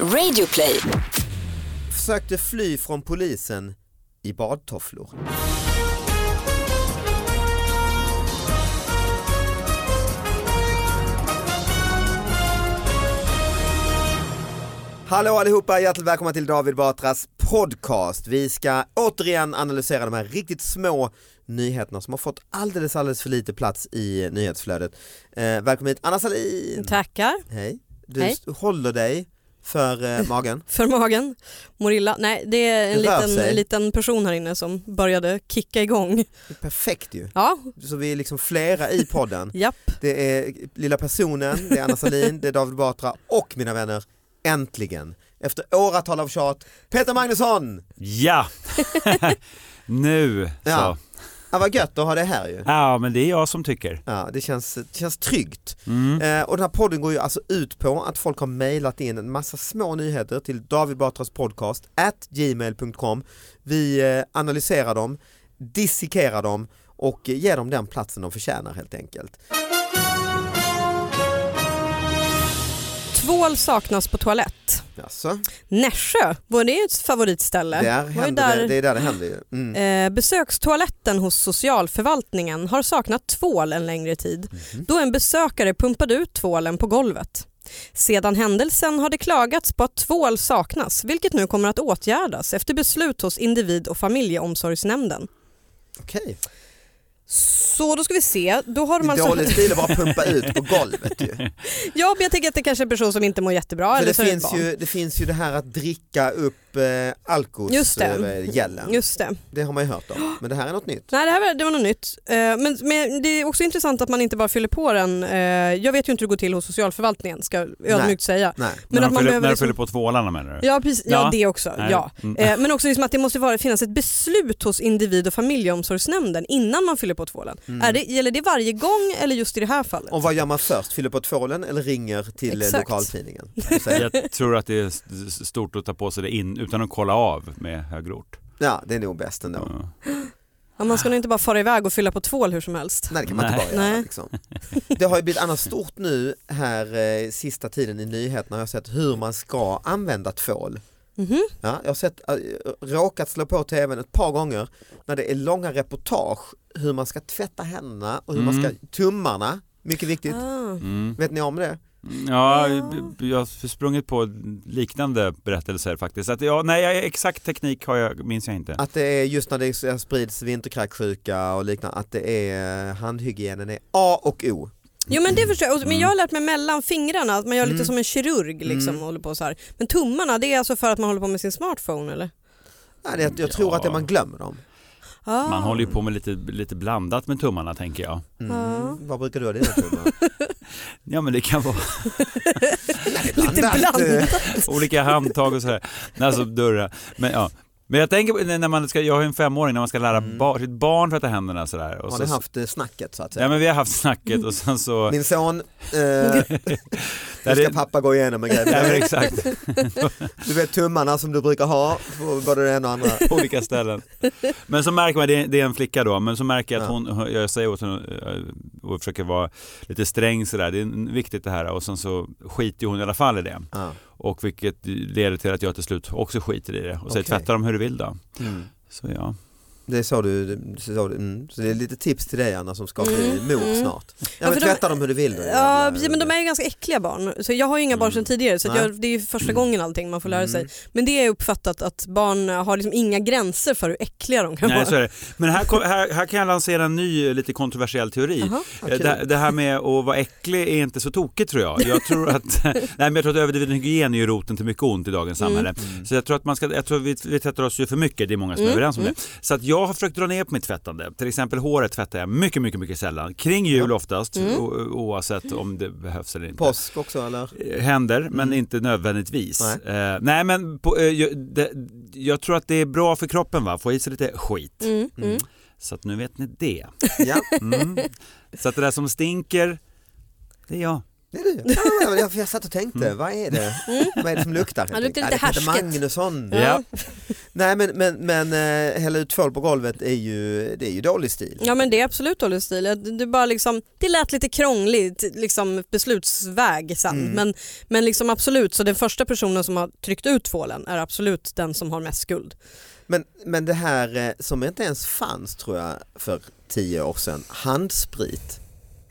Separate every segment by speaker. Speaker 1: Radioplay.
Speaker 2: Försökte fly från polisen i badtofflor. Hallå allihopa, hjärtligt välkomna till David Batras podcast. Vi ska återigen analysera de här riktigt små nyheterna som har fått alldeles, alldeles för lite plats i nyhetsflödet. Eh, välkommen hit Anna Salin.
Speaker 3: Tackar
Speaker 2: Hej. Du
Speaker 3: Hej.
Speaker 2: st- håller dig för eh, magen.
Speaker 3: för magen. Morilla, nej det är en
Speaker 2: Det rör
Speaker 3: liten,
Speaker 2: sig.
Speaker 3: en liten person här inne som började kicka igång.
Speaker 2: Det är perfekt ju.
Speaker 3: Ja,
Speaker 2: Så vi är liksom flera i podden.
Speaker 3: japp.
Speaker 2: Det är Lilla personen, det är Anna Salin, det är David Batra och mina vänner, äntligen, efter åratal av tjat, Peter Magnusson!
Speaker 4: Ja, nu
Speaker 2: Ja.
Speaker 4: så.
Speaker 2: Ja, vad gött att ha det här ju.
Speaker 4: Ja, men det är jag som tycker.
Speaker 2: Ja, det, känns, det känns tryggt.
Speaker 4: Mm.
Speaker 2: Eh, och den här podden går ju alltså ut på att folk har mejlat in en massa små nyheter till David Batras podcast at gmail.com. Vi eh, analyserar dem, dissekerar dem och eh, ger dem den platsen de förtjänar helt enkelt.
Speaker 3: Tvål saknas på toalett.
Speaker 2: Alltså,
Speaker 3: Nässjö, var det ett favoritställe?
Speaker 2: där
Speaker 3: var ju
Speaker 2: händer det, det är där det händer ju. Mm.
Speaker 3: Eh, besökstoaletten hos socialförvaltningen har saknat tvål en längre tid
Speaker 2: Mhm.
Speaker 3: då en besökare pumpade ut tvålen på golvet. Sedan händelsen har det klagats på att tvål saknas vilket nu kommer att åtgärdas efter beslut hos individ och familjeomsorgsnämnden.
Speaker 2: Okej.
Speaker 3: Så då ska vi se. Då har de
Speaker 2: Det är
Speaker 3: alltså...
Speaker 2: dålig stil att bara pumpa ut på golvet ju.
Speaker 3: Ja, men jag tänker att det kanske är en person som inte mår jättebra.
Speaker 2: För
Speaker 3: eller
Speaker 2: det,
Speaker 3: så är det ett
Speaker 2: finns
Speaker 3: barn.
Speaker 2: ju, det finns ju det här att dricka upp eh,
Speaker 3: Just det.
Speaker 2: alkoholgällen. Det.
Speaker 3: Just det.
Speaker 2: har man ju hört om. Men det här är något nytt.
Speaker 3: Nej, det här var, det var något nytt. Eh, Men, men det är också intressant att man inte bara fyller på den. eh, Jag vet ju inte hur det går till hos socialförvaltningen, ska jag ödmjukt säga.
Speaker 2: Nej.
Speaker 3: Men
Speaker 4: när
Speaker 3: att
Speaker 4: de
Speaker 3: man behöver
Speaker 4: fyller, när de
Speaker 3: liksom-
Speaker 4: fyller på tvålarna menar du?
Speaker 3: Ja, precis, ja,
Speaker 4: Ja.
Speaker 3: det också.
Speaker 4: Nej.
Speaker 3: Ja.
Speaker 4: Mm.
Speaker 3: Eh, Men också liksom att det måste vara, finnas ett beslut hos individ och familjeomsorgsnämnden innan man fyller på tvålen. Är Mm. det, gäller det varje gång eller just i det här fallet?
Speaker 2: Mm. Och vad gör man först? Fyller på tvålen eller ringer till eh,
Speaker 3: Exakt.
Speaker 2: lokaltidningen? Och säger,
Speaker 4: Jag tror att det är s- stort att ta på sig det in, utan att kolla av med högerort.
Speaker 2: ja, det är nog bäst ändå.
Speaker 4: Ja.
Speaker 3: Ja, man ska nog inte bara fara iväg och fylla på tvål hur som helst.
Speaker 2: Nej det kan man inte
Speaker 4: Nej.
Speaker 2: bara göra.
Speaker 3: Nej.
Speaker 2: Liksom. Det har ju blivit annars stort nu här eh, sista tiden i nyheterna har jag sett hur man ska använda tvål.
Speaker 3: Mhm.
Speaker 2: Ja, jag har sett, eh, råkat slå på tvn ett par gånger när det är långa reportage hur man ska tvätta händerna och hur man
Speaker 4: Mm.
Speaker 2: ska, tummarna, mycket viktigt.
Speaker 3: Ah.
Speaker 4: Mm.
Speaker 2: Vet ni om det?
Speaker 4: Ja,
Speaker 3: Ja.
Speaker 4: b- jag har sprungit på liknande berättelser faktiskt. Att, ja, nej, jag- exakt teknik har jag, minns jag inte.
Speaker 2: Att det är just när det sprids vinterkräksjuka och liknande, att det är eh, handhygienen är A och O.
Speaker 3: Jo men det förstår jag, Och- men jag har lärt mig mellan fingrarna att man gör lite som en kirurg liksom
Speaker 2: Mm.
Speaker 3: och håller på så här. Men tummarna det är alltså för att man håller på med sin smartphone eller?
Speaker 2: Ja, det, jag tror
Speaker 4: Ja.
Speaker 2: att det man glömmer dem.
Speaker 3: Ah.
Speaker 4: Man håller ju på med lite, lite blandat med tummarna tänker jag.
Speaker 2: Mm.
Speaker 3: Ja.
Speaker 2: Vad brukar du ha dina tummar?
Speaker 4: Ja men det kan vara
Speaker 3: lite blandat.
Speaker 4: olika handtag och sådär. Nej, Alltså dörrar. Men, ja. Men jag tänker på när man ska, jag har ju en femåring, när man ska lära
Speaker 2: Mm.
Speaker 4: bar, sitt barn tvätta händerna sådär. Och
Speaker 2: Har
Speaker 4: så,
Speaker 2: ni haft eh, snacket så att säga?
Speaker 4: Ja men vi har haft snacket och sen så...
Speaker 2: Min son, eh, nu ska
Speaker 4: det-
Speaker 2: pappa gå igenom en grej.
Speaker 4: Ja,
Speaker 2: med
Speaker 4: men
Speaker 2: dig.
Speaker 4: exakt,
Speaker 2: Du vet tummarna som du brukar ha, på både det ena och andra.
Speaker 4: på olika ställen. Men så märker man, det är, det är en flicka då, men så märker jag att
Speaker 2: Ja.
Speaker 4: hon, hon- jag säger åt henne eh, och försöker vara lite sträng sådär, det är viktigt det här och sen så skiter hon i alla fall i det.
Speaker 2: Ja.
Speaker 4: Och vilket leder till att jag till slut också skiter i det och säger
Speaker 2: Okej.
Speaker 4: tvätta dem hur du vill då. Så ja.
Speaker 2: Det är så du, så, du mm. så det är lite tips till dig Anna som ska bli
Speaker 3: Mm,
Speaker 2: mor
Speaker 3: mm.
Speaker 2: snart. Ja,
Speaker 3: Ja,
Speaker 2: men
Speaker 3: för de-
Speaker 2: tvätta dem hur du vill. då,
Speaker 3: Ja
Speaker 2: jävla-
Speaker 3: precis, men de är ju ganska äckliga barn. Så jag har ju inga barn sedan tidigare så att jag, det är ju första gången allting man får lära
Speaker 2: Mm.
Speaker 3: sig. Men det är uppfattat att barn har liksom inga gränser för hur äckliga de kan
Speaker 4: Nej, så
Speaker 3: vara.
Speaker 4: är det. Men här, kom, här, här kan jag lansera en ny eh, lite kontroversiell teori.
Speaker 3: Jaha.
Speaker 2: Ja,
Speaker 4: Eh,
Speaker 2: kul.
Speaker 4: Det, det här med att vara äcklig är inte så tokigt tror jag. Jag tror att, nej, men jag tror att överdriven hygien är ju roten till mycket ont i dagens
Speaker 3: Mm.
Speaker 4: samhälle. Så jag tror att man ska, jag tror vi, vi tvättar oss ju för mycket, det är många som
Speaker 3: Mm,
Speaker 4: är överens om
Speaker 3: mm.
Speaker 4: det. Så att jag har försökt dra ner på mitt tvättande. Till exempel håret tvättar jag mycket, mycket, mycket sällan. Kring jul oftast,
Speaker 3: Mm.
Speaker 4: o, oavsett om det behövs eller inte.
Speaker 2: Påsk också eller?
Speaker 4: Eh, händer, men
Speaker 3: Mm.
Speaker 4: inte nödvändigtvis.
Speaker 2: Nej.
Speaker 4: Nej, eh, nej men på, eh, jag, det, jag tror att det är bra för kroppen va, få i sig lite skit.
Speaker 3: Mm, mm.
Speaker 4: Så att nu vet ni det.
Speaker 2: Ja,
Speaker 4: Mm. Så att det där som stinker, det är jag.
Speaker 2: det är du. Ja, men jag, jag satt och tänkte, vad är det? Vad är det som luktar?
Speaker 3: Mm. Ja, det luktar
Speaker 2: Ja,
Speaker 3: lite
Speaker 2: är Peter
Speaker 3: härsket.
Speaker 2: Magnusson.
Speaker 3: Ja.
Speaker 2: Nej men, men, men eh, hälla ut tvål på golvet är ju, det är ju dålig stil.
Speaker 3: Ja men det är absolut dålig stil. Det, det, bara liksom, det lät lite krångligt liksom beslutsväg sen
Speaker 2: Mm.
Speaker 3: men, men liksom absolut så den första personen som har tryckt ut tvålen är absolut den som har mest skuld.
Speaker 2: Men, men det här eh, som inte ens fanns tror jag för tio år sedan, handsprit.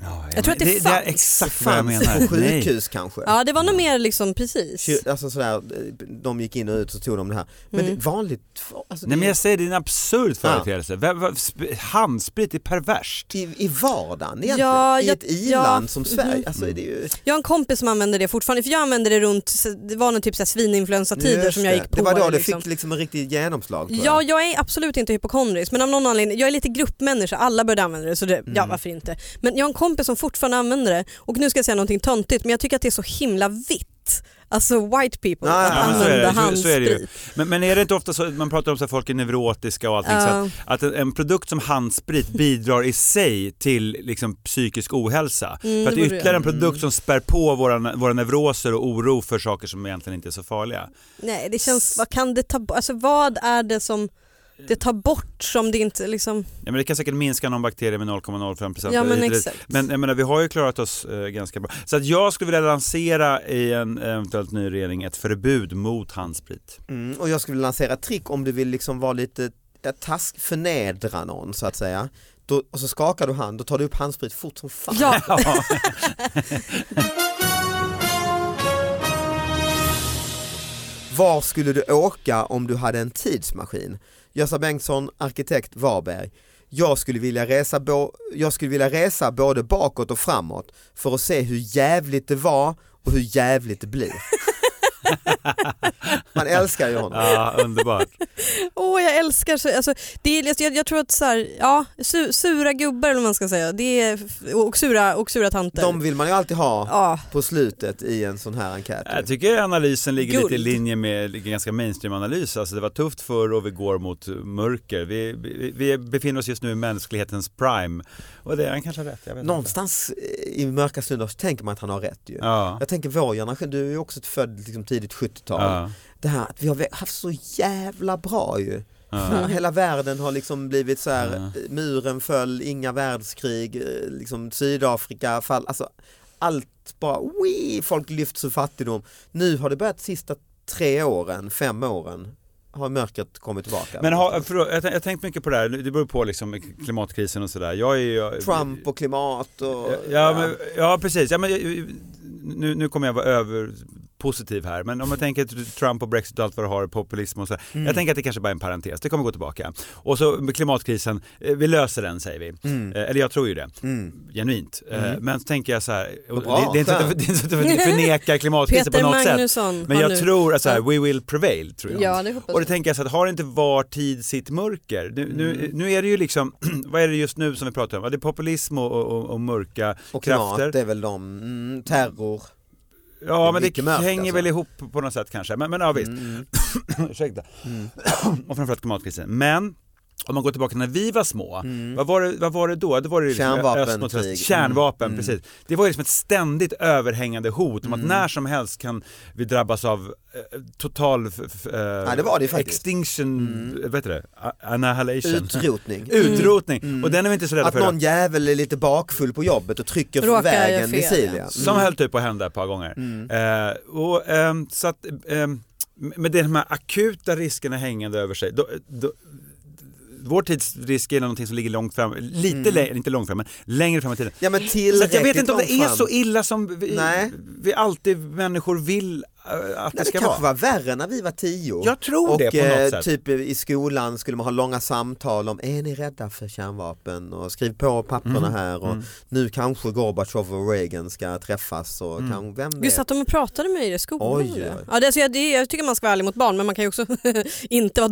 Speaker 4: Ja,
Speaker 3: Jag tror att det
Speaker 4: det är
Speaker 3: fanns.
Speaker 4: exakt vad jag
Speaker 2: Fanns
Speaker 4: menar.
Speaker 2: på
Speaker 4: Nej.
Speaker 2: sjukhus kanske.
Speaker 3: Ja det var nog mer liksom precis.
Speaker 2: Kyr- Alltså sådär, eh, de gick in och ut och tog de det här. Men
Speaker 3: Mm.
Speaker 2: det är vanligt, två- alltså,
Speaker 4: Nej
Speaker 2: det
Speaker 4: men
Speaker 2: är-
Speaker 4: jag säger det är en absurd företeelse. Vem- vad- sp- Handsprit är perverst.
Speaker 2: i, i vardagen egentligen,
Speaker 3: Ja,
Speaker 2: i
Speaker 3: jag-
Speaker 2: ett i-land
Speaker 3: ja.
Speaker 2: som Sverige.
Speaker 3: Mhm.
Speaker 2: Alltså, det är ju,
Speaker 3: Jag har en kompis som använder det fortfarande för jag använde det runt, det var någon typ så här svininfluensatider
Speaker 2: Just
Speaker 3: som jag gick på.
Speaker 2: det var då det
Speaker 3: liksom.
Speaker 2: fick liksom en riktig genomslag tror
Speaker 3: Ja,
Speaker 2: jag.
Speaker 3: jag är absolut inte hypokondrisk men av någon anledning, jag är lite gruppmänniska, alla började använda det så det, ja
Speaker 2: Mm.
Speaker 3: varför inte. Men jag har en kompis som fortfarande använder det och nu ska jag säga någonting töntigt men jag tycker att det är så himla vitt. Alltså white people,
Speaker 2: Nej,
Speaker 3: att
Speaker 2: ja, men så är
Speaker 3: använda
Speaker 4: det, så- så är det ju.
Speaker 3: handsprit.
Speaker 4: Men, men är det inte ofta så att man pratar om att folk är neurotiska och allting. Så att,
Speaker 2: liksom.
Speaker 3: Ja.
Speaker 4: att en, en produkt som handsprit bidrar i sig till liksom, psykisk ohälsa.
Speaker 3: Mm,
Speaker 4: för att
Speaker 3: det Mm.
Speaker 4: det är
Speaker 3: borde
Speaker 4: ytterligare en
Speaker 2: det.
Speaker 4: produkt som spär på våra, våra neuroser och oro för saker som egentligen inte är så farliga.
Speaker 3: Nej det känns, vad kan det ta bort, alltså vad är det som det tar bort som det inte liksom,
Speaker 4: Ja, men det kan säkert minska någon bakterie med 0,05%.
Speaker 3: ja men
Speaker 4: Det- det-
Speaker 3: exakt.
Speaker 4: Men jag menar, vi har ju klarat oss eh, ganska bra. Så att jag skulle vilja lansera i en eventuellt ny regering ett förbud mot handsprit.
Speaker 2: Mm, och jag skulle vilja lansera ett trick om du vill liksom vara lite ja, task, förnedra någon så att säga. Då, och så skakar du hand, då tar du upp handsprit fort som fan.
Speaker 3: Ja,
Speaker 4: Ja.
Speaker 2: Var skulle du åka om du hade en tidsmaskin? Gösta Bengtsson, arkitekt Varberg. Jag skulle, vilja resa bo- jag skulle vilja resa både bakåt och framåt för att se hur jävligt det var och hur jävligt det blir. Man älskar ju honom.
Speaker 4: ja, underbart.
Speaker 3: Åh jag älskar, så- alltså, det är, jag, jag tror att så här, ja, su, sura gubbar eller vad man ska säga, det är, och, sura, och sura tanter.
Speaker 2: De vill man ju alltid ha
Speaker 3: ja.
Speaker 2: på slutet i en sån här enkät.
Speaker 4: Jag tycker analysen ligger
Speaker 3: Guld.
Speaker 4: lite i linje med ganska mainstream-analys. Alltså det var tufft förr och vi går mot mörker. Vi, vi, vi befinner oss just nu i mänsklighetens prime. Och det, han kanske har rätt, jag vet inte.
Speaker 2: Någonstans eh, i mörka stunder så tänker man att han har rätt ju.
Speaker 4: Ja.
Speaker 2: Jag tänker vår generation, du är ju också född liksom tidigt 70-tal.
Speaker 4: Ja.
Speaker 2: Det här att vi har haft så jävla bra ju.
Speaker 4: Ja.
Speaker 2: Hela världen har liksom blivit så här,
Speaker 4: Ja.
Speaker 2: eh, muren föll, inga världskrig, eh, liksom Sydafrika fall, alltså allt bara, wee, folk lyfts ur fattigdom. Nu har det börjat sista tre åren, fem åren, har mörkret kommit tillbaka.
Speaker 4: Men har, förlåt, jag har jag har tänkt mycket på det här, det beror på liksom klimatkrisen och sådär. Jag är ju... jag-
Speaker 2: Trump och klimat och...
Speaker 4: Ja, ja, men, ja precis. Ja, men, jag- nu, nu kommer jag vara överpositiv här, men om jag tänker att Trump och Brexit och allt vad det har, populism och så. där.
Speaker 2: Mm.
Speaker 4: Jag tänker att det kanske bara är en parentes, det kommer gå tillbaka. Och så med klimatkrisen, eh, vi löser den säger vi.
Speaker 2: Mm.
Speaker 4: Eh, Eller jag tror ju det,
Speaker 2: Mm.
Speaker 4: genuint. Eh,
Speaker 2: Mm.
Speaker 4: Men så tänker jag så här, och
Speaker 2: Vad bra,
Speaker 4: det, det är inte så att jag-
Speaker 2: skönt.
Speaker 4: det är inte så att jag förnekar klimatkrisen på
Speaker 3: Peter
Speaker 4: något sätt.
Speaker 3: Magnusson
Speaker 4: Men
Speaker 3: har
Speaker 4: jag
Speaker 3: nu...
Speaker 4: tror att så här,
Speaker 3: Ja.
Speaker 4: we will prevail, tror jag.
Speaker 3: Ja, det hoppas
Speaker 4: Och det
Speaker 3: jag.
Speaker 4: tänker jag så att har inte var tid sitt mörker? Nu, nu, nu är det ju liksom, vad är det just nu som vi pratar om? Ja, det är populism och, och, och- och mörka
Speaker 2: Och
Speaker 4: krafter.
Speaker 2: klimat, det är väl de, mm, terror.
Speaker 4: Ja, men det
Speaker 2: mycket mörkt,
Speaker 4: hänger
Speaker 2: alltså.
Speaker 4: väl ihop på något sätt kanske. Men, men ja, visst.
Speaker 2: Mm.
Speaker 4: Ursäkta.
Speaker 2: Mm.
Speaker 4: Och framförallt klimatkrisen. Men om man går tillbaka när vi var små,
Speaker 2: Mm.
Speaker 4: vad, var det, vad var det då? Det var det liksom
Speaker 2: Kärnvapenkrig.
Speaker 4: öst mot
Speaker 2: Mm.
Speaker 4: väst. Kärnvapen,
Speaker 2: Mm.
Speaker 4: precis. Det var ju liksom ett ständigt överhängande hot om
Speaker 2: Mm.
Speaker 4: att när som helst kan vi drabbas av eh, total... F- f- eh,
Speaker 2: Ja, det var det ju faktiskt.
Speaker 4: Extinction,
Speaker 2: Mm.
Speaker 4: vad heter det? A- Annihilation.
Speaker 2: Utrotning.
Speaker 4: Utrotning.
Speaker 2: Mm.
Speaker 4: Och den är vi inte så rädda
Speaker 2: Att
Speaker 4: för. idag.
Speaker 2: någon jävel är lite bakfull på jobbet och trycker
Speaker 3: Råkar
Speaker 2: för vägen
Speaker 3: jag fel, ja.
Speaker 2: Nicilia.
Speaker 4: Som höll typ på att hända ett par gånger.
Speaker 2: Mm.
Speaker 4: Eh, och, ehm, så att, ehm, med de här akuta riskerna hängande över sig. Då, då, vår tids risker är någonting som ligger långt fram, lite
Speaker 2: Mm.
Speaker 4: längre, inte långt fram, men längre fram i tiden.
Speaker 2: Ja, men
Speaker 4: Så att jag vet
Speaker 2: tillräckligt
Speaker 4: inte om det är
Speaker 2: långt
Speaker 4: så
Speaker 2: fram.
Speaker 4: illa som vi,
Speaker 2: Nej.
Speaker 4: vi alltid människor vill eh, att
Speaker 2: Nej,
Speaker 4: det
Speaker 2: det
Speaker 4: ska
Speaker 2: kanske
Speaker 4: vara.
Speaker 2: var värre när vi var tio.
Speaker 4: Jag tror
Speaker 2: och
Speaker 4: det på
Speaker 2: eh,
Speaker 4: något sätt.
Speaker 2: typ i skolan skulle man ha långa samtal om är ni rädda för kärnvapen och skriv på papperna
Speaker 4: Mm.
Speaker 2: här och
Speaker 4: Mm.
Speaker 2: nu kanske Gorbachev och Reagan ska träffas och
Speaker 4: Mm.
Speaker 2: kan, vem
Speaker 3: Gud,
Speaker 2: vet.
Speaker 3: satt de och pratade med er i skolan?
Speaker 2: Oj,
Speaker 3: om det?
Speaker 2: oj.
Speaker 3: Ja, det, alltså, jag, det, jag tycker man ska vara ärlig mot barn men man kan ju också inte vara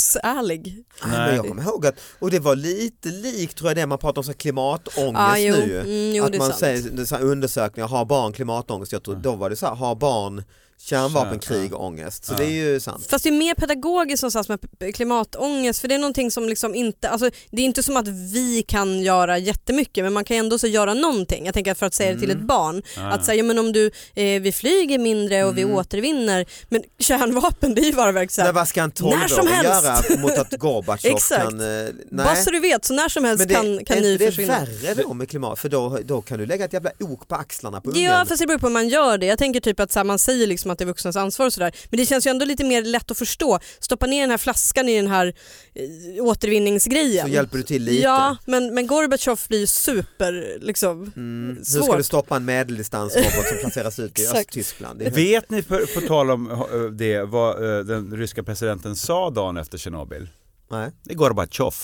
Speaker 3: domedagsärlig.
Speaker 2: Nej, men
Speaker 4: Nej.
Speaker 2: jag kommer ihåg att, och det var lite likt tror jag det man pratar om så här klimatångest
Speaker 3: Ja, jo,
Speaker 2: nu.
Speaker 3: mm, jo
Speaker 2: att
Speaker 3: det är
Speaker 2: man
Speaker 3: sant.
Speaker 2: säger det är så här undersökningar, har barn klimatångest? Jag tror,
Speaker 4: Mm.
Speaker 2: Då var det så här, har barn kärnvapenkrig och ångest. Så
Speaker 4: Ja.
Speaker 2: det är ju sant.
Speaker 3: Fast det är mer pedagogiskt någonstans med p- klimatångest för det är någonting som liksom inte, alltså, det är inte som att vi kan göra jättemycket men man kan ändå så göra någonting. Jag tänker att för att säga det till
Speaker 2: Mm.
Speaker 3: ett barn,
Speaker 4: Ja.
Speaker 3: att säga ja, men om du, eh, vi flyger mindre och vi
Speaker 2: Mm.
Speaker 3: återvinner, men kärnvapen det är ju bara
Speaker 2: Nej,
Speaker 3: verksamt.
Speaker 2: vad ska en
Speaker 3: När som
Speaker 2: tolvåring
Speaker 3: helst.
Speaker 2: göra mot att Gorbatjov
Speaker 3: Exakt.
Speaker 2: kan... eh,
Speaker 3: Bara
Speaker 2: Nej.
Speaker 3: så du vet, så när som helst
Speaker 2: Men det,
Speaker 3: kan, kan
Speaker 2: är
Speaker 3: ni
Speaker 2: inte det
Speaker 3: försvinna.
Speaker 2: värre då med klimat? För då, då kan du lägga ett jävla ok på axlarna på
Speaker 3: Ja
Speaker 2: ungen.
Speaker 3: fast det beror på hur man gör det. Jag tänker typ att så här, man säger liksom att det är vuxnas ansvar och sådär. Men det känns ju ändå lite mer lätt att förstå. Stoppa ner den här flaskan i den här eh, återvinningsgrejen.
Speaker 2: Så hjälper du till lite.
Speaker 3: Ja men, men Gorbatjov blir ju super liksom.
Speaker 2: Mm. Nu
Speaker 3: Svårt.
Speaker 2: ska du stoppa en medeldistansrobot som placeras ut i
Speaker 3: Exakt.
Speaker 2: Östtyskland. Det är helt-
Speaker 4: Vet ni, på, på tal om eh, det, vad eh, den ryska presidenten sa dagen efter Tjernobyl?
Speaker 2: Nej.
Speaker 4: Det är Gorbatjov.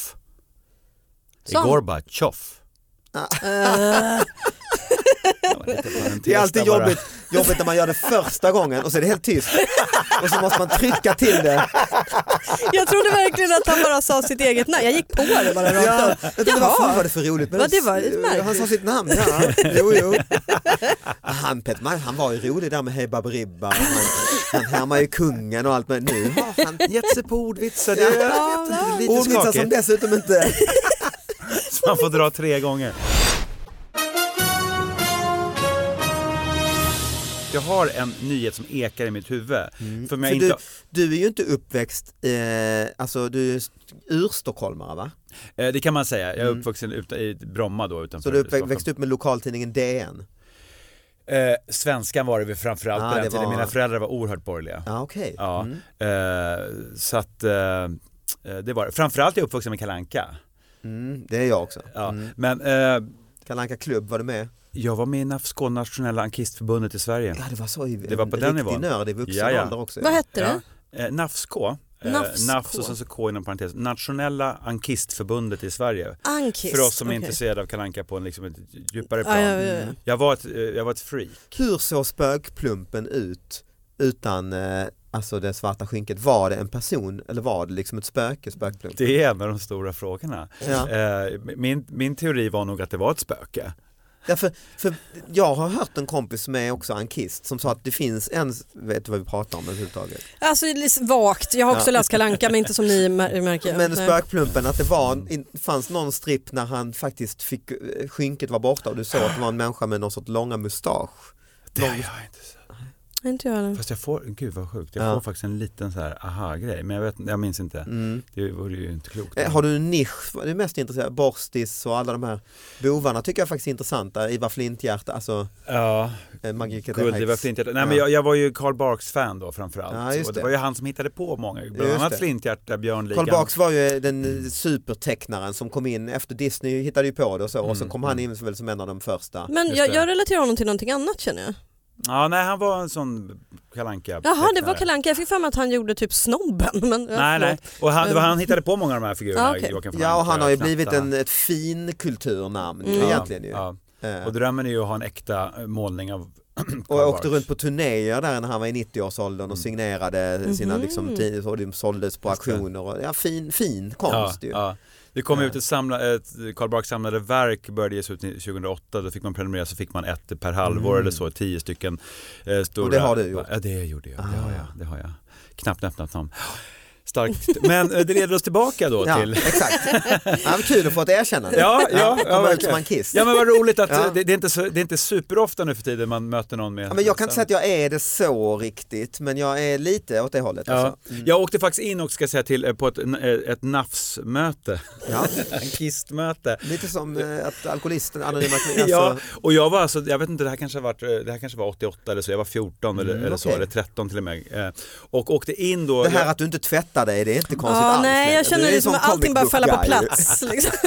Speaker 4: Det är
Speaker 3: Som?
Speaker 4: Gorbatjov.
Speaker 3: Eh,
Speaker 4: Det var lite parentes
Speaker 2: Det är alltid
Speaker 4: där bara.
Speaker 2: jobbigt, jobbigt när man gör det första gången och så är det helt tyst. Och så måste man trycka till det.
Speaker 3: jag trodde verkligen att han bara sa sitt eget namn. Jag gick på det bara rakt
Speaker 2: Ja,
Speaker 3: av.
Speaker 2: jag tänkte,
Speaker 3: Jaha.
Speaker 2: vad fan var det för roligt med
Speaker 3: Vad
Speaker 2: det?
Speaker 3: det var, lite märkligt.
Speaker 2: Han sa sitt namn, ja. Jo, jo. Han, Peter Mark, han var ju rolig där med Hej Baberiba. Han, han härmar ju kungen och allt men nu har han
Speaker 4: Gett sig på ordvitsar, det är
Speaker 2: Ja,
Speaker 4: jag vet inte, lite
Speaker 2: ordvitsar som
Speaker 4: skakigt.
Speaker 2: dessutom inte...
Speaker 4: Så man får dra tre gånger. Jag har en nyhet som ekar i mitt huvud. För om jag
Speaker 2: Mm. För
Speaker 4: inte...
Speaker 2: du, du är ju inte uppväxt, eh, alltså du är urstockholmare va?
Speaker 4: Eh, Det kan man säga. Jag är
Speaker 2: Mm.
Speaker 4: uppvuxen uta, i Bromma då
Speaker 2: Så
Speaker 4: utanför
Speaker 2: du
Speaker 4: Stockholm.
Speaker 2: uppväxt, växte upp med lokaltidningen DN?
Speaker 4: Eh, svenskan var det vi framförallt
Speaker 2: Ah,
Speaker 4: på den
Speaker 2: det
Speaker 4: tiden.
Speaker 2: var-
Speaker 4: Mina föräldrar var oerhört borgerliga.
Speaker 2: Ja okej.
Speaker 4: Ja.
Speaker 2: Mm.
Speaker 4: Eh, så att eh, eh, det var det. Framförallt är jag uppvuxen med Kalanka.
Speaker 2: Mm, det är jag också.
Speaker 4: Ja.
Speaker 2: Mm.
Speaker 4: Men eh,
Speaker 2: Kalle Anka klubb, var du med?
Speaker 4: jag var med i NAF, Skåne nationella ankistförbundet i Sverige.
Speaker 2: Ja det var så i
Speaker 4: Det var på
Speaker 2: en
Speaker 4: den
Speaker 2: riktig
Speaker 4: nivån.
Speaker 2: nörd i vuxen
Speaker 4: Ja, ja.
Speaker 2: ålder också.
Speaker 3: Vad hette
Speaker 4: Ja.
Speaker 3: det?
Speaker 4: Eh, NAFSK. eh,
Speaker 3: NAFSK.
Speaker 4: NAFS och sen så K inom parentes. Nationella ankistförbundet i Sverige.
Speaker 3: Ankis.
Speaker 4: För oss som är
Speaker 3: Okej.
Speaker 4: intresserade av Kalanka på en liksom ett djupare plan.
Speaker 3: Ja, ja, ja, ja.
Speaker 4: Jag, var ett, eh, jag var ett freak.
Speaker 2: Hur såg spökplumpen ut utan eh, alltså det svarta skynket? Var det en person eller var det liksom ett spöke, spökplump?
Speaker 4: Det är en av de stora frågorna.
Speaker 2: Ja.
Speaker 4: Eh, Min, min teori var nog att det var ett spöke.
Speaker 2: Ja, för, för jag har hört en kompis som är också ankist som sa att det finns en, vet du vad vi pratar om överhuvudtaget?
Speaker 3: Alltså lite vagt. Jag har också
Speaker 2: Ja.
Speaker 3: läst Kalle Anka men inte som ni mär- märker.
Speaker 2: Men
Speaker 3: Nej.
Speaker 2: spökplumpen, att det var, en- in- fanns någon stripp när han faktiskt fick, eh, skynket var borta och du såg att det var en människa med någon sorts långa mustasch.
Speaker 4: Det har jag inte sett.
Speaker 3: Inte jag heller.
Speaker 4: Fast jag får, gud vad sjukt, jag
Speaker 2: Ja.
Speaker 4: får faktiskt en liten så här aha-grej. Men jag, vet, jag minns inte.
Speaker 2: Mm.
Speaker 4: Det vore ju inte klokt.
Speaker 2: Eh, Har du en nisch, det är mest intressant, borstis och alla de här bovarna tycker jag faktiskt är intressanta, Ivar Flinthjärta, alltså
Speaker 4: Ja,
Speaker 2: eh, Magica
Speaker 4: guld, det var Flinthjärta. Nej men
Speaker 2: Ja.
Speaker 4: jag, jag var ju Carl Barks fan då framförallt.
Speaker 2: Ja, just
Speaker 4: och det
Speaker 2: det.
Speaker 4: var ju han som hittade på många, bland
Speaker 2: Just
Speaker 4: annat
Speaker 2: det.
Speaker 4: Flinthjärta, Björnligan.
Speaker 2: Carl Barks var ju den supertecknaren som kom in efter Disney hittade ju på det och så och så
Speaker 4: Mm,
Speaker 2: kom han in väl som en av de första.
Speaker 3: Men
Speaker 4: Just
Speaker 3: jag,
Speaker 4: det.
Speaker 3: jag relaterar honom till någonting annat känner jag.
Speaker 4: Ja, nej han var en sån kalanka
Speaker 3: Jaha det var Kalle Anka. Jag fick för mig att han gjorde typ snobben. Men, ja,
Speaker 4: Nej, nej.
Speaker 3: förlåt.
Speaker 4: Och han, det var
Speaker 3: Mm.
Speaker 4: han hittade på många av de här figurerna.
Speaker 3: Ja, okej.
Speaker 4: Joakim von
Speaker 2: Ja och han har ju
Speaker 4: Anka,
Speaker 2: blivit
Speaker 4: Knattarna.
Speaker 2: en, ett fin kulturnamn ju
Speaker 3: Mm.
Speaker 2: egentligen ju.
Speaker 4: Ja,
Speaker 2: Eh,
Speaker 4: ja. Och drömmen är ju att ha en äkta eh, målning av
Speaker 2: Och
Speaker 4: Carl
Speaker 2: jag åkte
Speaker 4: Barks.
Speaker 2: runt på turnéer där när han var i 90-årsåldern och
Speaker 4: Mm.
Speaker 2: signerade sina
Speaker 3: Mhm.
Speaker 2: liksom, tid- och de såldes på
Speaker 4: Just det.
Speaker 2: auktioner. Och, ja, fin, fin konst
Speaker 4: ja,
Speaker 2: ju.
Speaker 4: Ja. Det kom
Speaker 2: Ja.
Speaker 4: ut ett, samla, ett Karl Barks samlade verk, började ges ut 2008, då fick man prenumerera så fick man ett per halvår
Speaker 2: Mm.
Speaker 4: eller så, tio stycken eh, stora.
Speaker 2: Och det har du gjort?
Speaker 4: Ja det gjorde jag, det
Speaker 2: Ah.
Speaker 4: har jag. Det har jag. Knappt öppnat dem. Starkt. Men eh, det leder oss tillbaka då
Speaker 2: Ja,
Speaker 4: till
Speaker 2: exakt. Ja, men kul att få ett erkännande.
Speaker 4: Ja, ja, ja,
Speaker 2: Komma ut
Speaker 4: verkligen.
Speaker 2: som en kiss.
Speaker 4: Ja men vad roligt att
Speaker 2: Ja.
Speaker 4: eh, det, det, är inte så, det är inte superofta nu för tiden man möter någon med
Speaker 2: Ja, men jag kan inte säga att jag är det så riktigt, men jag är lite åt det hållet.
Speaker 4: Ja.
Speaker 2: Alltså. Mm.
Speaker 4: Jag åkte faktiskt in och ska säga till eh, på ett, eh, ett nafsmöte,
Speaker 2: Ja.
Speaker 4: ett kistmöte.
Speaker 2: Lite som eh, att alkoholisten, anonyma alltså,
Speaker 4: Ja, och jag var alltså, jag vet inte, det här kanske, har varit, eh, det här kanske var 88 eller så, jag var 14 eller,
Speaker 2: Mm,
Speaker 4: eller så,
Speaker 2: okej.
Speaker 4: eller 13 till och med. Eh, Och åkte in då.
Speaker 2: Det här att du inte tvättar dig, det är inte konstigt
Speaker 3: Ja,
Speaker 2: alls.
Speaker 3: nej,
Speaker 2: längre.
Speaker 3: jag
Speaker 2: Du
Speaker 3: känner
Speaker 2: är
Speaker 3: liksom
Speaker 2: som
Speaker 3: att
Speaker 2: comic
Speaker 3: allting bara
Speaker 2: book
Speaker 3: faller på
Speaker 2: guy.
Speaker 3: plats. Liksom.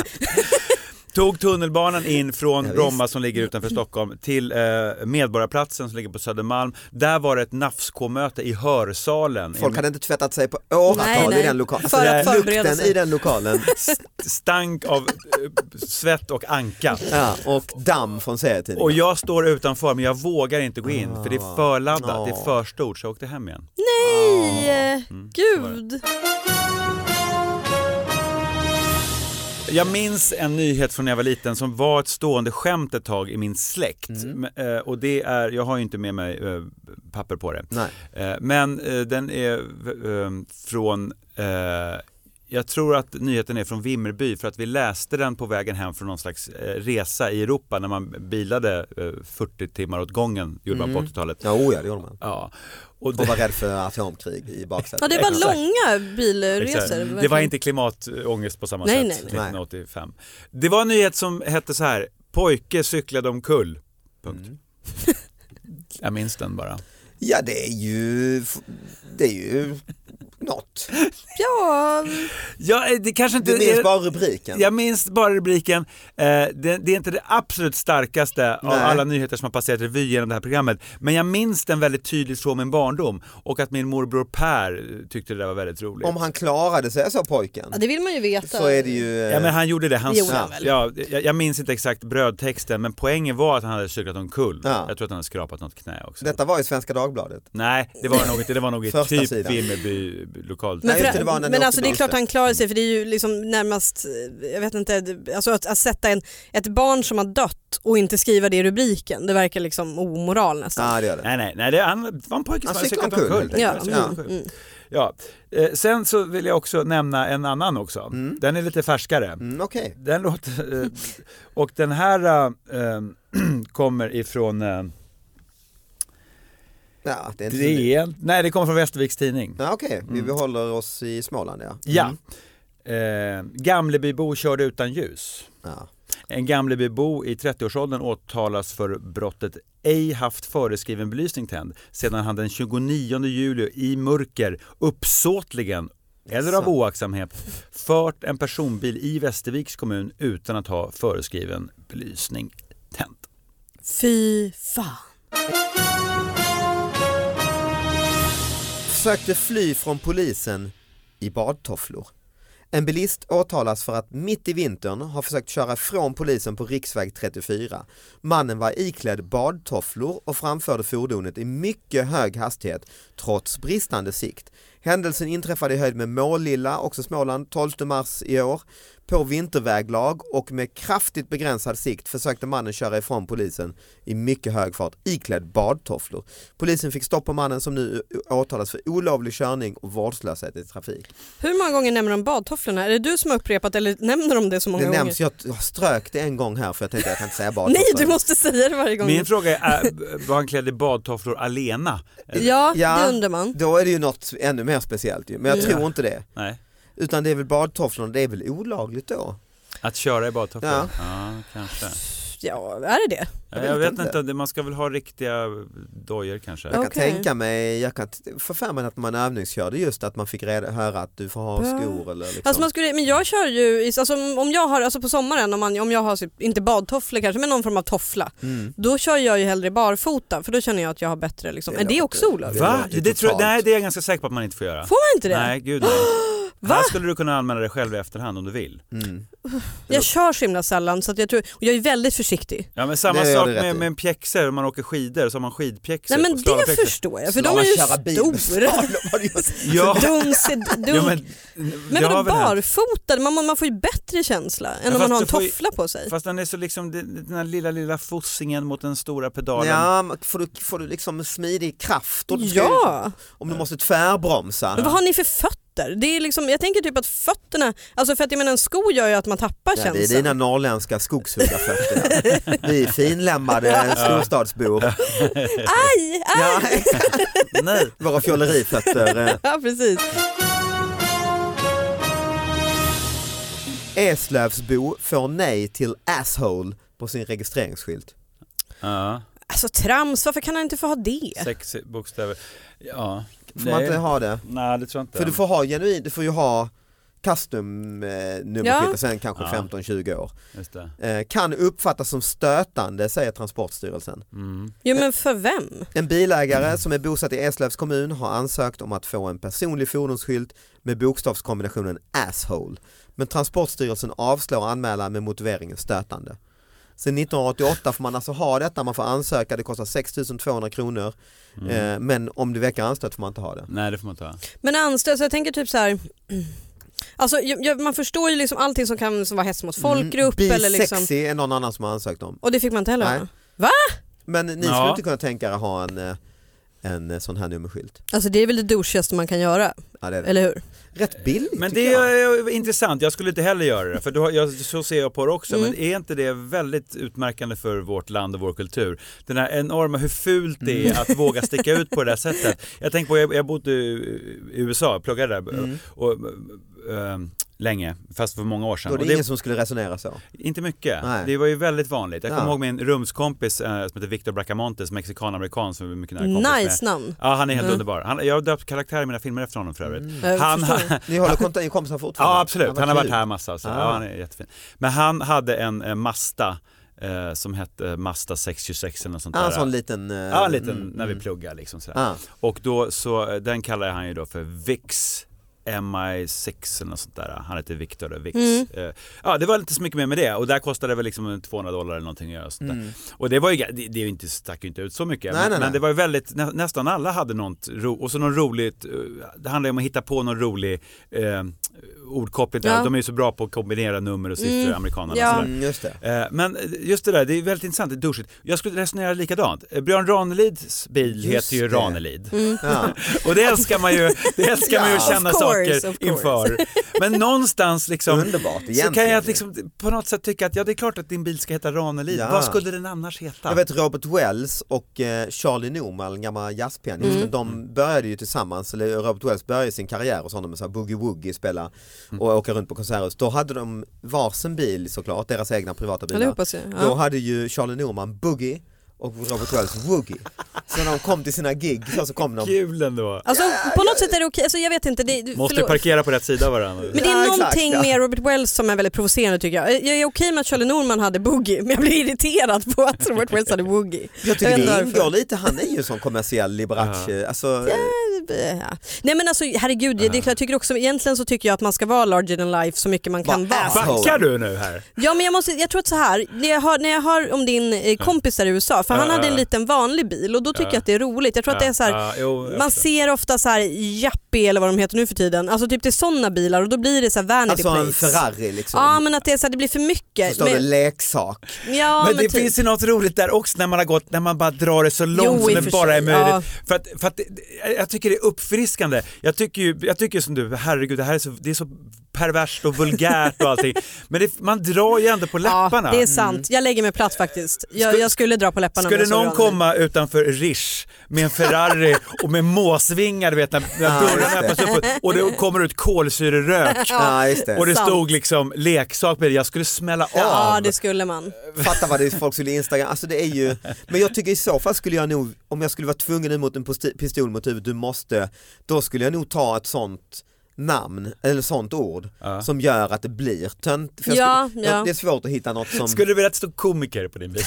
Speaker 4: Tog tunnelbanan in från
Speaker 2: Ja, visst.
Speaker 4: Bromma som ligger utanför Stockholm till eh, Medborgarplatsen som ligger på Södermalm. Där var det ett NAFSK-möte i hörsalen.
Speaker 2: Folk hade inte tvättat sig på åratal
Speaker 3: Nej, nej.
Speaker 2: i den lokalen.
Speaker 3: För att förbereda
Speaker 2: lukten
Speaker 3: sig.
Speaker 2: i den lokalen
Speaker 4: Stank av eh, svett och anka.
Speaker 2: ja, och damm från serietidningen.
Speaker 4: Och jag står utanför men jag vågar inte gå in för det
Speaker 2: Ah.
Speaker 4: är för laddat, det är för stort så jag åkte hem igen.
Speaker 3: Nej, eh,
Speaker 4: Mm.
Speaker 3: gud.
Speaker 4: Jag minns en nyhet från när jag var liten som var
Speaker 2: Mm.
Speaker 4: ett stående skämt ett tag i min släkt. Men, eh, Och det är, jag har ju inte med mig eh, papper på det.
Speaker 2: Nej.
Speaker 4: Eh, Men eh, den är eh, från, eh, jag tror att nyheten är från Vimmerby för att vi läste den på vägen hem från någon slags eh, resa i Europa när man bilade eh, 40 timmar åt gången, gjorde man
Speaker 2: Mm.
Speaker 4: på 80-talet.
Speaker 2: Ja, oh ja, det gjorde man.
Speaker 4: Ja. Och
Speaker 2: Och
Speaker 4: det,
Speaker 2: var rädd för atomkrig i baksätet.
Speaker 3: Ja, det var
Speaker 4: Exakt.
Speaker 3: långa bilresor.
Speaker 4: Exakt. det var
Speaker 3: verkligen.
Speaker 4: inte klimatångest på samma
Speaker 3: Nej,
Speaker 4: sätt
Speaker 3: nej, nej.
Speaker 4: 1985. Det var en nyhet som hette så här, pojke cyklade omkull. Punkt.
Speaker 2: Mm.
Speaker 4: Jag minns den bara.
Speaker 2: Ja, det är ju... Det är ju något.
Speaker 3: Ja,
Speaker 4: Ja, eh, det kanske inte
Speaker 2: Du minns
Speaker 4: är-
Speaker 2: bara rubriken.
Speaker 4: Jag minns bara rubriken. Eh, det, det är inte det absolut starkaste av
Speaker 2: Nej.
Speaker 4: alla nyheter som har passerat revy genom det här programmet. Men jag minns den väldigt tydligt från min barndom och att min morbror Per tyckte det där var väldigt roligt.
Speaker 2: Om han klarade sig, sa pojken.
Speaker 3: ja, det vill man ju veta.
Speaker 2: Så är det ju... eh,
Speaker 4: Ja men han gjorde det, han
Speaker 3: Det gjorde
Speaker 4: sa-
Speaker 3: han väl?
Speaker 4: ja, jag, jag minns inte exakt brödtexten men poängen var att han hade cyklat omkull.
Speaker 2: Ja.
Speaker 4: Jag tror att han hade skrapat något knä också.
Speaker 2: Detta var i Svenska Dagbladet.
Speaker 4: Nej, det var nog inte, det var nog i
Speaker 2: Första
Speaker 4: typ
Speaker 2: sidan.
Speaker 4: Vimmerby lokal.
Speaker 2: Nej,
Speaker 3: Men,
Speaker 2: just det,
Speaker 3: för,
Speaker 2: det var när ni
Speaker 3: men
Speaker 2: åkte
Speaker 3: alltså det är
Speaker 2: buss,
Speaker 3: klart
Speaker 2: ja.
Speaker 3: han klarar sig för det är ju liksom närmast, eh, jag vet inte, det- alltså att, att sätta en, ett barn som har dött och inte skriva det i rubriken, det verkar liksom omoral nästan.
Speaker 2: Ja, det gör det.
Speaker 4: Nej, nej, nej, det han- det var en pojke
Speaker 2: Han
Speaker 4: som hade
Speaker 2: cyklade
Speaker 4: cyklat
Speaker 2: omkull,
Speaker 4: omkull.
Speaker 2: helt
Speaker 3: Ja,
Speaker 2: enkelt.
Speaker 4: cyklat
Speaker 3: mm,
Speaker 4: omkull.
Speaker 3: mm.
Speaker 4: Ja. Eh, sen så vill jag också nämna en annan också. Den är lite färskare.
Speaker 2: Mm, Okej.
Speaker 4: Den låter, eh, och den här eh, eh, kommer ifrån eh,
Speaker 2: Ja, det är inte så nytt.
Speaker 4: DN. Nej, det kommer från Västerviks tidning.
Speaker 2: Ja, Okej, vi behåller oss i Småland ja.
Speaker 4: Ja.
Speaker 2: Mm.
Speaker 4: Eh, Gamlebybo körde utan ljus.
Speaker 2: ja.
Speaker 4: En Gamlebybo i 30-årsåldern åtalas för brottet ej haft föreskriven belysning tänd sedan han den 29 juli i mörker uppsåtligen eller av
Speaker 2: Så.
Speaker 4: oaktsamhet fört en personbil i Västerviks kommun utan att ha föreskriven belysning tänd.
Speaker 3: Fy fan.
Speaker 2: Försökte fly från polisen i badtofflor. En bilist åtalas för att mitt i vintern ha försökt köra från polisen på riksväg 34. Mannen var iklädd badtofflor och framförde fordonet i mycket hög hastighet trots bristande sikt. Händelsen inträffade i höjd med Målilla, också Småland, 12 mars i år. På vinterväglag och med kraftigt begränsad sikt försökte mannen köra ifrån polisen i mycket hög fart iklädd badtofflor. Polisen fick stopp på mannen som nu åtalas för olovlig körning och vårdslöshet i trafik.
Speaker 3: Hur många gånger nämner de badtofflorna? Är det du som har upprepat eller nämner de det så många
Speaker 2: Det
Speaker 3: gånger?
Speaker 2: nämns, jag jag strök det en gång här för jag tänkte jag kan inte säga badtofflor.
Speaker 3: Nej, du måste säga det varje gång.
Speaker 4: Min fråga är, äh, var han klädd i badtofflor alena?
Speaker 3: Ja,
Speaker 2: Ja.
Speaker 3: det undrar man.
Speaker 2: Då är det ju något ännu mer speciellt ju, men jag
Speaker 3: Ja.
Speaker 2: tror inte det.
Speaker 4: Nej,
Speaker 2: Utan det är väl badtofflorna, det är väl olagligt då?
Speaker 4: att köra i badtofflor?
Speaker 2: Ja.
Speaker 4: Ja, kanske.
Speaker 3: Ja, är det det?
Speaker 4: Jag
Speaker 2: vet
Speaker 4: vet, jag vet
Speaker 2: inte.
Speaker 4: inte, det- man ska väl ha riktiga dojor kanske?
Speaker 2: Jag kan
Speaker 3: Okej.
Speaker 2: tänka mig, jag kan t- få för mig att man övningskörde just att man fick reda, höra att du får ha
Speaker 3: Ja.
Speaker 2: skor eller liksom.
Speaker 3: Alltså man skulle, men jag kör ju, i- alltså om- om jag har, alltså på sommaren om, man, om jag har, typ- inte badtofflor kanske, men någon form av toffla,
Speaker 2: mm.
Speaker 3: då kör jag ju hellre barfota för då känner jag att jag har bättre liksom.
Speaker 2: Det
Speaker 3: Är det
Speaker 2: låter-
Speaker 3: också olagligt?
Speaker 2: Det
Speaker 4: Va?
Speaker 2: låter ju
Speaker 4: Det, tror jag,
Speaker 2: totalt-
Speaker 4: nej, det är jag ganska säker på att man inte får göra.
Speaker 3: Får man inte det?
Speaker 4: Nej, gud nej. Här skulle du kunna använda dig själv i efterhand om du vill.
Speaker 2: Mm.
Speaker 3: Jag kör så himla sällan så att jag tror, och jag är väldigt försiktig.
Speaker 4: Ja, men samma
Speaker 2: Det gör
Speaker 4: sak
Speaker 2: du rätt
Speaker 4: med,
Speaker 2: i.
Speaker 4: med en pjäxor, om man åker skidor så har man skidpjäxor.
Speaker 3: Nej men
Speaker 4: och
Speaker 3: det
Speaker 4: slalomfjäxor.
Speaker 3: förstår jag för de
Speaker 2: Slalom,
Speaker 3: är ju
Speaker 2: köra bil med
Speaker 3: stora. Alltså,
Speaker 2: slalom, vad du gör.
Speaker 4: Ja,
Speaker 3: Duns, dunk.
Speaker 4: ja,
Speaker 3: men
Speaker 4: men,
Speaker 3: men
Speaker 4: det har
Speaker 3: vadå
Speaker 4: väl hänt.
Speaker 3: barfota? Man, man får ju bättre känsla än
Speaker 4: Ja,
Speaker 3: om man
Speaker 4: fast
Speaker 3: har en
Speaker 4: du får ju-
Speaker 3: toffla på sig.
Speaker 4: Fast den är så liksom, det- den här lilla, lilla fossingen mot den stora pedalen.
Speaker 2: Ja, men får du, får du liksom smidig kraft? Och du ska ju-
Speaker 3: Ja,
Speaker 2: Om du måste tvärbromsa.
Speaker 3: men vad har ni för fötter? Det är liksom, jag tänker typ att fötterna, alltså för att jag menar en sko gör ju att man tappar
Speaker 2: Ja, det är
Speaker 3: känslan.
Speaker 2: dina norrländska skogshuggarfötter. ja. Vi är finlämmade storstadsbor.
Speaker 3: Aj, aj!
Speaker 2: Ja, exakt.
Speaker 4: Nej.
Speaker 2: Våra fjollerifötter. eh.
Speaker 3: Ja precis.
Speaker 2: Eslövsbo får nej till asshole på sin registreringsskylt.
Speaker 4: Ja,
Speaker 3: Alltså trams, varför kan han inte få ha det?
Speaker 4: sex bokstäver. Ja.
Speaker 2: Får man inte ha det?
Speaker 4: Nej, det tror jag inte.
Speaker 2: För du får ha genuin, du får ju ha custom eh, nummerskylt
Speaker 3: Ja.
Speaker 2: och sen kanske
Speaker 4: Ja.
Speaker 2: 15-20 år.
Speaker 4: Just det.
Speaker 2: Eh, kan uppfattas som stötande säger Transportstyrelsen.
Speaker 4: Mm.
Speaker 3: Jo men för vem?
Speaker 2: En bilägare som är bosatt i Eslövs kommun har ansökt om att få en personlig fordonsskylt med bokstavskombinationen asshole. Men Transportstyrelsen avslår anmälan med motiveringen stötande. Sen 1988 får man alltså ha detta, man får ansöka, det kostar 6 200 kronor.
Speaker 4: Mm.
Speaker 2: Eh, men om det väcker anstöt får man inte ha det.
Speaker 4: Nej, det får man inte ha.
Speaker 3: Men anstöt, så jag tänker typ så här. Alltså, jag, jag, man förstår ju liksom allting som kan som vara hets mot folkgrupp
Speaker 2: Mm,
Speaker 3: eller liksom,
Speaker 2: Bisexy är någon annan som har ansökt om.
Speaker 3: och det fick man inte heller
Speaker 2: Nej.
Speaker 3: höra.
Speaker 2: Men ni
Speaker 4: Ja.
Speaker 2: skulle inte kunna tänka er att ha en, eh, en eh, sån här nummerskylt.
Speaker 3: Alltså det är väl det douchigaste man kan göra,
Speaker 2: Ja, det är
Speaker 3: eller hur?
Speaker 2: rätt billigt
Speaker 4: Men
Speaker 2: tycker
Speaker 4: det
Speaker 2: jag.
Speaker 4: är eh, intressant, jag skulle inte heller göra det, för då, har- jag, så ser jag på det också.
Speaker 3: Mm.
Speaker 4: Men är inte det väldigt utmärkande för vårt land och vår kultur? Den här enorma, hur fult det
Speaker 2: Mm.
Speaker 4: är att våga sticka ut på det där sättet. Jag tänker på, jag, jag bodde i USA, pluggade där
Speaker 2: Mm.
Speaker 4: och, eh, länge, fast för många år sedan.
Speaker 2: Då är
Speaker 4: Och
Speaker 2: det ingen som skulle resonera så.
Speaker 4: Inte mycket.
Speaker 2: Nej.
Speaker 4: Det var ju väldigt vanligt. Jag
Speaker 2: Ja.
Speaker 4: kommer ihåg min rumskompis eh, som heter Victor Bracamontes, mexikan-amerikan som vi är mycket nära kompis med.
Speaker 3: Nice namn.
Speaker 4: Ja, han är helt
Speaker 3: Mm.
Speaker 4: underbar. Han, jag har döpt karaktärer i mina filmer efter honom för övrigt.
Speaker 2: Mm.
Speaker 3: Jag
Speaker 4: Han,
Speaker 3: förstår.
Speaker 2: Ni håller kontakt med kompisar fortfarande?
Speaker 4: Ja, absolut. Han har varit
Speaker 2: kul.
Speaker 4: här massa. Så.
Speaker 2: Ah.
Speaker 4: Ja, han är jättefin. Men han hade en eh, Masta eh, som hette Masta 626 eller något sånt
Speaker 2: Ja, en
Speaker 4: där.
Speaker 2: sån liten... eh,
Speaker 4: ja, en liten
Speaker 2: mm,
Speaker 4: när vi
Speaker 2: mm.
Speaker 4: pluggade liksom sådär.
Speaker 2: Ja.
Speaker 4: Och då så, eh, den kallade han ju då för VIX MI6 eller något sånt där. Han heter Victor då, VIX.
Speaker 3: Mm.
Speaker 4: Eh, Ja, det var inte så mycket mer med det och där kostade det väl liksom 200 dollar eller någonting att göra sånt där.
Speaker 2: Mm.
Speaker 4: Och det var ju, ga- det, det är ju inte, stack ju inte ut så mycket.
Speaker 2: Nej,
Speaker 4: men,
Speaker 2: nej, nej.
Speaker 4: men det var ju väldigt, nä, nästan alla hade något ro, och så någon roligt, eh, det handlar ju om att hitta på någon rolig eh, ordkoppling.
Speaker 3: Ja.
Speaker 4: De är ju så bra på att kombinera nummer och siffror,
Speaker 3: Mm.
Speaker 4: amerikanerna.
Speaker 3: Ja.
Speaker 4: Ja.
Speaker 2: Mm, just det.
Speaker 4: Eh, Men just det där, det är väldigt intressant, det är duschigt. Jag skulle resonera likadant. Eh, Björn Ranelids bil
Speaker 2: Just
Speaker 4: heter ju
Speaker 2: det.
Speaker 4: Ranelid.
Speaker 3: Mm.
Speaker 2: Ja.
Speaker 4: Och det älskar man ju, det älskar man ju
Speaker 2: Ja,
Speaker 4: att
Speaker 2: of
Speaker 4: känna
Speaker 3: course, of
Speaker 4: saker
Speaker 3: course.
Speaker 4: inför. Men någonstans liksom
Speaker 2: Underbart Mm. egentligen.
Speaker 4: så kan jag liksom på något sätt tycka att ja, det är klart att din bil ska heta Ranelid.
Speaker 2: Ja.
Speaker 4: Vad skulle den annars heta?
Speaker 2: Jag vet Robert Wells och eh, Charlie Norman, en gammal jazzpianist,
Speaker 3: Mm.
Speaker 2: de började ju tillsammans, eller Robert Wells började sin karriär hos honom med så här boogie-woogie spela
Speaker 3: Mm.
Speaker 2: och åka runt på konserthus. Då hade de varsin bil såklart, deras egna privata
Speaker 3: Ja, det
Speaker 2: bilar.
Speaker 3: hoppas jag.
Speaker 2: Då
Speaker 3: Ja.
Speaker 2: hade ju Charlie Norman boogie och Robert Wells woogie. Så när de kom till sina gig så, så kom de
Speaker 4: Kul ändå.
Speaker 3: Alltså på något sätt är det okej, alltså, jag vet inte. Det, du-
Speaker 4: Måste
Speaker 3: förlåt.
Speaker 4: parkera på rätt sida av varandra.
Speaker 3: Men det är
Speaker 2: Ja, exakt,
Speaker 3: någonting
Speaker 2: ja.
Speaker 3: med Robert Wells som är väldigt provocerande tycker jag. Jag är okej med att Charlie Norman hade boogie men jag blir irriterad på att Robert Wells hade boogie.
Speaker 2: Jag tycker
Speaker 3: Jag vet
Speaker 2: det
Speaker 3: inte
Speaker 2: ingår lite, han är ju en sån kommersiell Liberace, alltså,
Speaker 3: Ja. Nej men alltså herregud, jag, det, jag tycker också, egentligen så tycker jag att man ska vara larger than life så mycket man kan
Speaker 2: Bara
Speaker 3: vara.
Speaker 2: ass.
Speaker 4: Backar du nu här?
Speaker 3: Ja men jag, måste, jag tror att så här, när jag, hör, när jag hör om din eh, kompis där i USA, för han
Speaker 4: Ja,
Speaker 3: hade
Speaker 4: ja,
Speaker 3: en
Speaker 4: ja.
Speaker 3: liten vanlig bil och då tycker
Speaker 4: Ja.
Speaker 3: jag att det är roligt. Jag tror att det är så här,
Speaker 4: Ja, jo, jag
Speaker 3: man
Speaker 4: förstår.
Speaker 3: ser ofta så här Jappi eller vad de heter nu för tiden, alltså typ det är sådana bilar och då blir det så här vanity
Speaker 2: alltså en
Speaker 3: plates.
Speaker 2: Ferrari liksom.
Speaker 3: Ja men att det, är så här, det blir för
Speaker 2: så
Speaker 3: mycket.
Speaker 2: står det
Speaker 3: Men,
Speaker 2: leksak.
Speaker 3: ja,
Speaker 4: men
Speaker 3: men
Speaker 4: det
Speaker 3: typ.
Speaker 4: finns ju något roligt där också när man har gått, när man bara drar det så långt
Speaker 3: Jo, i
Speaker 4: som
Speaker 3: och för
Speaker 4: det bara
Speaker 3: sig,
Speaker 4: är möjligt.
Speaker 3: ja.
Speaker 4: För att, för att det- jag- jag tycker det är uppfriskande. Jag tycker ju jag tycker som du, herregud det här är så, det är så perverst och vulgärt och allting. Men det, man drar ju ändå på läpparna.
Speaker 3: Ja, det är
Speaker 2: Mm.
Speaker 3: sant. Jag lägger mig platt faktiskt. Jag,
Speaker 4: Skulle-
Speaker 3: jag skulle dra på läpparna. om
Speaker 4: Skulle
Speaker 3: jag såg
Speaker 4: någon
Speaker 3: Ronny.
Speaker 4: komma utanför Rish med en Ferrari och med måsvingar, du vet när,
Speaker 2: Ja,
Speaker 4: när
Speaker 2: just
Speaker 4: dörrarna
Speaker 2: det.
Speaker 4: öppnas upp och- och det kommer ut kolsyrerök
Speaker 2: Ja, just det.
Speaker 4: och det
Speaker 3: sant.
Speaker 4: stod liksom leksak med det, jag skulle smälla
Speaker 3: Ja,
Speaker 4: av.
Speaker 3: det skulle man.
Speaker 2: Fatta vad det är folk skulle instagram, alltså det är ju, men jag tycker i så fall skulle jag nog, om jag skulle vara tvungen ut mot en posti- pistol mot huvudet, du måste, då skulle jag nog ta ett sånt namn, eller sånt ord,
Speaker 4: Ja.
Speaker 2: som gör att det blir tönt. För jag
Speaker 3: Ja,
Speaker 2: skulle, jag-
Speaker 3: ja.
Speaker 2: Det är svårt att hitta något som,
Speaker 4: Skulle det vilja att det stod komiker på din bil?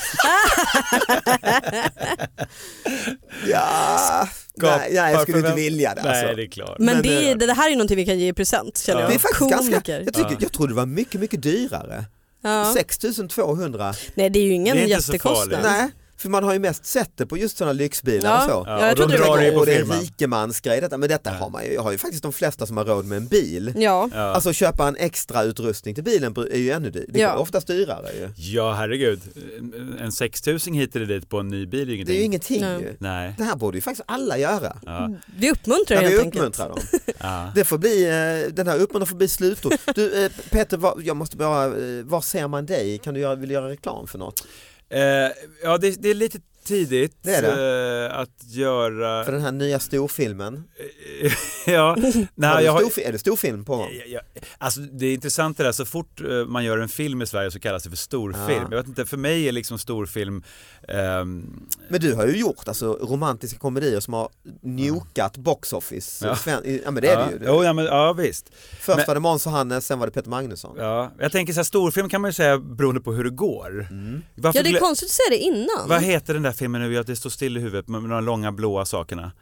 Speaker 2: ja, nej, nej jag skulle inte
Speaker 4: förvänt-
Speaker 2: vilja det alltså.
Speaker 4: Nej, det är klart.
Speaker 3: Men,
Speaker 2: Men
Speaker 3: det,
Speaker 2: det-
Speaker 3: det, det här är någonting vi kan ge i present känner
Speaker 4: Ja.
Speaker 3: jag.
Speaker 2: Det är faktiskt ganska,
Speaker 3: Komiker.
Speaker 2: jag, tycker, jag trodde det var mycket, mycket dyrare.
Speaker 3: Ja.
Speaker 2: 6200,
Speaker 3: Nej det är ju ingen
Speaker 4: Det är inte så
Speaker 3: jättekostnad.
Speaker 4: farligt.
Speaker 2: nej. För man har ju mest sett det på just sådana lyxbilar
Speaker 3: Ja.
Speaker 2: och så.
Speaker 3: Ja, jag
Speaker 4: och
Speaker 3: trodde
Speaker 4: de
Speaker 3: det var
Speaker 4: drar
Speaker 2: Och
Speaker 4: det på
Speaker 2: det är
Speaker 4: firman.
Speaker 2: rikemansgrej detta, men detta har man ju, jag har ju faktiskt de flesta som har råd med en bil.
Speaker 3: Ja.
Speaker 4: Ja.
Speaker 2: Alltså köpa en extra utrustning till bilen är ju ännu dyrare, det är
Speaker 3: Ja.
Speaker 2: oftast dyrare ju.
Speaker 4: ja, herregud. En- En 6000 hit eller dit på en ny bil är ju
Speaker 2: Det
Speaker 4: ingenting.
Speaker 2: är ju ingenting
Speaker 3: Nej.
Speaker 2: ju.
Speaker 4: Nej.
Speaker 2: Det här borde ju faktiskt alla göra.
Speaker 4: Ja.
Speaker 3: Vi uppmuntrar
Speaker 2: Ja, vi
Speaker 3: helt enkelt.
Speaker 2: uppmuntrar dem.
Speaker 4: Ja.
Speaker 2: Det får bli, eh, den här uppmuntran får bli slutord. Du eh, Peter, vad- jag måste bara, eh, var ser man dig? Kan du göra, vill du göra reklam för något?
Speaker 4: Eh, ja, det, det är lite tidigt
Speaker 2: Det är
Speaker 4: Eh, att göra...
Speaker 2: För den här nya storfilmen?
Speaker 4: ja,
Speaker 2: har
Speaker 4: nej,
Speaker 2: du
Speaker 4: jag har,
Speaker 2: storfi- är det storfilm på gång?
Speaker 4: Ja, ja. Alltså, det är intressant det där, så fort eh, man gör en film i Sverige så kallas det för storfilm.
Speaker 2: Ja.
Speaker 4: Jag vet inte, för mig är liksom storfilm ehm,
Speaker 2: Men du har ju gjort alltså romantiska komedier som har njokat box office.
Speaker 4: Ja.
Speaker 2: Sven- Ja men det är
Speaker 4: ja.
Speaker 2: det ju.
Speaker 4: Jo, ja, men, ja, visst.
Speaker 2: Först
Speaker 4: Men-
Speaker 2: var det Måns och Hannes, sen var det Peter Magnusson.
Speaker 4: Ja. Jag tänker så här, storfilm kan man ju säga beroende på hur det går.
Speaker 2: Mm.
Speaker 4: Varför
Speaker 3: Ja det är
Speaker 4: glö-
Speaker 3: konstigt att säga det innan.
Speaker 4: Vad heter den där filmen nu? Jag- Det står still i huvudet med med de långa blåa sakerna.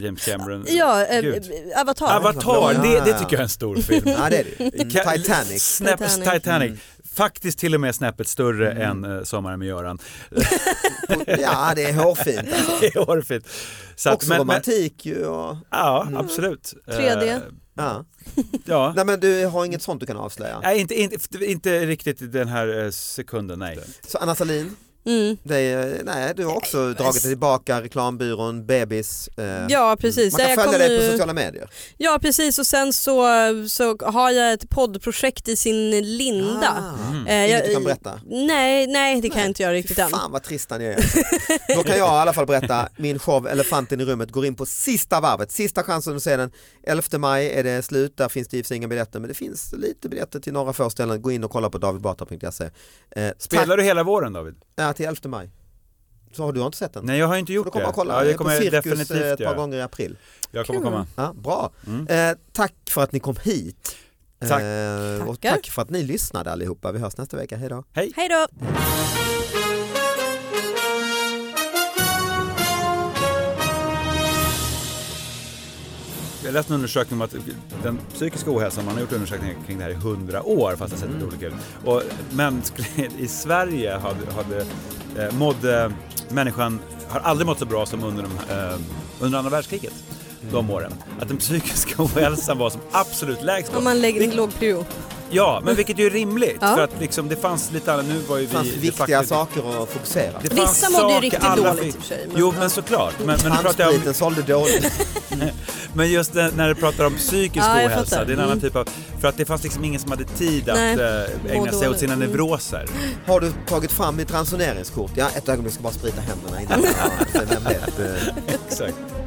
Speaker 4: James Cameron.
Speaker 3: Ja, eh,
Speaker 4: Gud.
Speaker 3: eh, Avatar.
Speaker 4: Avatar,
Speaker 2: Ja,
Speaker 4: det,
Speaker 2: ja,
Speaker 4: det
Speaker 2: ja.
Speaker 4: tycker jag är en stor film.
Speaker 2: Ja det är det ju. Mm.
Speaker 4: Ka-
Speaker 2: Titanic.
Speaker 4: Snäpp,
Speaker 3: Titanic.
Speaker 4: Titanic.
Speaker 2: Mm.
Speaker 4: Faktiskt till och med snäppet större än eh, Sommaren med Göran.
Speaker 2: Mm. Ja det är hårfint.
Speaker 4: Det är hårfint. Så att-
Speaker 2: Också romantik Mm. ju och...
Speaker 4: ja, absolut.
Speaker 3: 3D.
Speaker 4: Eh,
Speaker 2: Ja.
Speaker 4: ja.
Speaker 2: Nej men du har inget sånt du kan avslöja.
Speaker 4: Nej, inte, inte, inte riktigt i den här eh, sekunden, nej.
Speaker 2: Så Anna Salin,
Speaker 3: Mm.
Speaker 2: Det är, nej, du har också dragit dig tillbaka, reklambyrån, bebis. Eh,
Speaker 3: Ja, precis.
Speaker 2: Man kan
Speaker 3: Jag
Speaker 2: följa
Speaker 3: kom
Speaker 2: dig
Speaker 3: ju-
Speaker 2: på sociala medier.
Speaker 3: Ja precis och sen så, så har jag ett poddprojekt i sin linda.
Speaker 2: Ah,
Speaker 4: Mm.
Speaker 3: Eh,
Speaker 2: Inget
Speaker 3: jag,
Speaker 2: du kan berätta?
Speaker 3: nej, nej det kan
Speaker 2: Nej.
Speaker 3: jag inte göra
Speaker 2: Fy
Speaker 3: riktigt än.
Speaker 2: fan vad tristan jag är. Då kan jag i alla fall berätta, min show Elefanten i rummet går in på sista varvet, sista chansen att se den. 11 maj är det slut, där finns det givetvis inga biljetter men det finns lite biljetter till några föreställningar. Gå in och kolla på davidbatra.se. Eh,
Speaker 4: Spelar
Speaker 2: tack-
Speaker 4: du hela våren David?
Speaker 2: Ja, till 11 maj. Så har du inte sett den?
Speaker 4: Nej jag har inte
Speaker 2: Får du
Speaker 4: gjort det.
Speaker 2: komma och kolla.
Speaker 4: Ja,
Speaker 2: jag
Speaker 4: det
Speaker 2: är
Speaker 4: kommer
Speaker 2: på
Speaker 4: jag
Speaker 2: Cirkus eh,
Speaker 4: definitivt
Speaker 2: ett par
Speaker 4: göra.
Speaker 2: gånger i april.
Speaker 4: Jag kommer
Speaker 3: Kul.
Speaker 4: komma.
Speaker 2: Ja, bra.
Speaker 4: Mm.
Speaker 2: Eh, tack för att ni kom hit.
Speaker 4: Tack.
Speaker 2: Eh, och
Speaker 3: Tackar.
Speaker 2: tack för att ni lyssnade allihopa. Vi hörs nästa vecka. Hej då.
Speaker 4: Hej!
Speaker 3: Hej då!
Speaker 4: Jag läste en undersökning om att den psykiska ohälsan, man har gjort undersökningar kring det här i hundra år fast det har sett
Speaker 2: Mm.
Speaker 4: lite olika ut. Och män skulle- i Sverige hade, hade eh, mådde människan, har aldrig mått så bra som under, de, eh, under andra världskriget.
Speaker 2: Mm.
Speaker 4: De åren. Att den psykiska ohälsan var som absolut lägst då.
Speaker 3: Om man lägger en låg prio.
Speaker 4: Ja, men vilket ju är rimligt
Speaker 3: Ja.
Speaker 4: för att liksom, det fanns lite annat. Nu var ju vi...
Speaker 2: Det fanns
Speaker 4: de
Speaker 2: viktiga
Speaker 4: facto-
Speaker 2: saker att fokusera.
Speaker 4: det fanns
Speaker 3: Vissa mådde ju
Speaker 4: saker
Speaker 3: riktigt
Speaker 4: alla
Speaker 3: dåligt i och
Speaker 4: fick.
Speaker 3: för sig. men-
Speaker 4: Jo, men såklart. Men, men nu pratar jag om
Speaker 2: Handspriten sålde dåligt.
Speaker 4: Men just när, när du pratar om psykisk
Speaker 3: Ja, jag
Speaker 4: ohälsa,
Speaker 3: fattar.
Speaker 4: det är en annan
Speaker 3: Mm.
Speaker 4: typ av... För att det fanns liksom ingen som hade tid att
Speaker 3: Nej.
Speaker 4: eh, ägna sig åt
Speaker 3: dåligt.
Speaker 4: sina
Speaker 3: Mm.
Speaker 4: neuroser.
Speaker 2: Har du tagit fram ditt ransoneringskort? Ja, ett ögonblick ska bara sprita händerna innan. Ja, sen jag blev, eh,
Speaker 4: Exakt.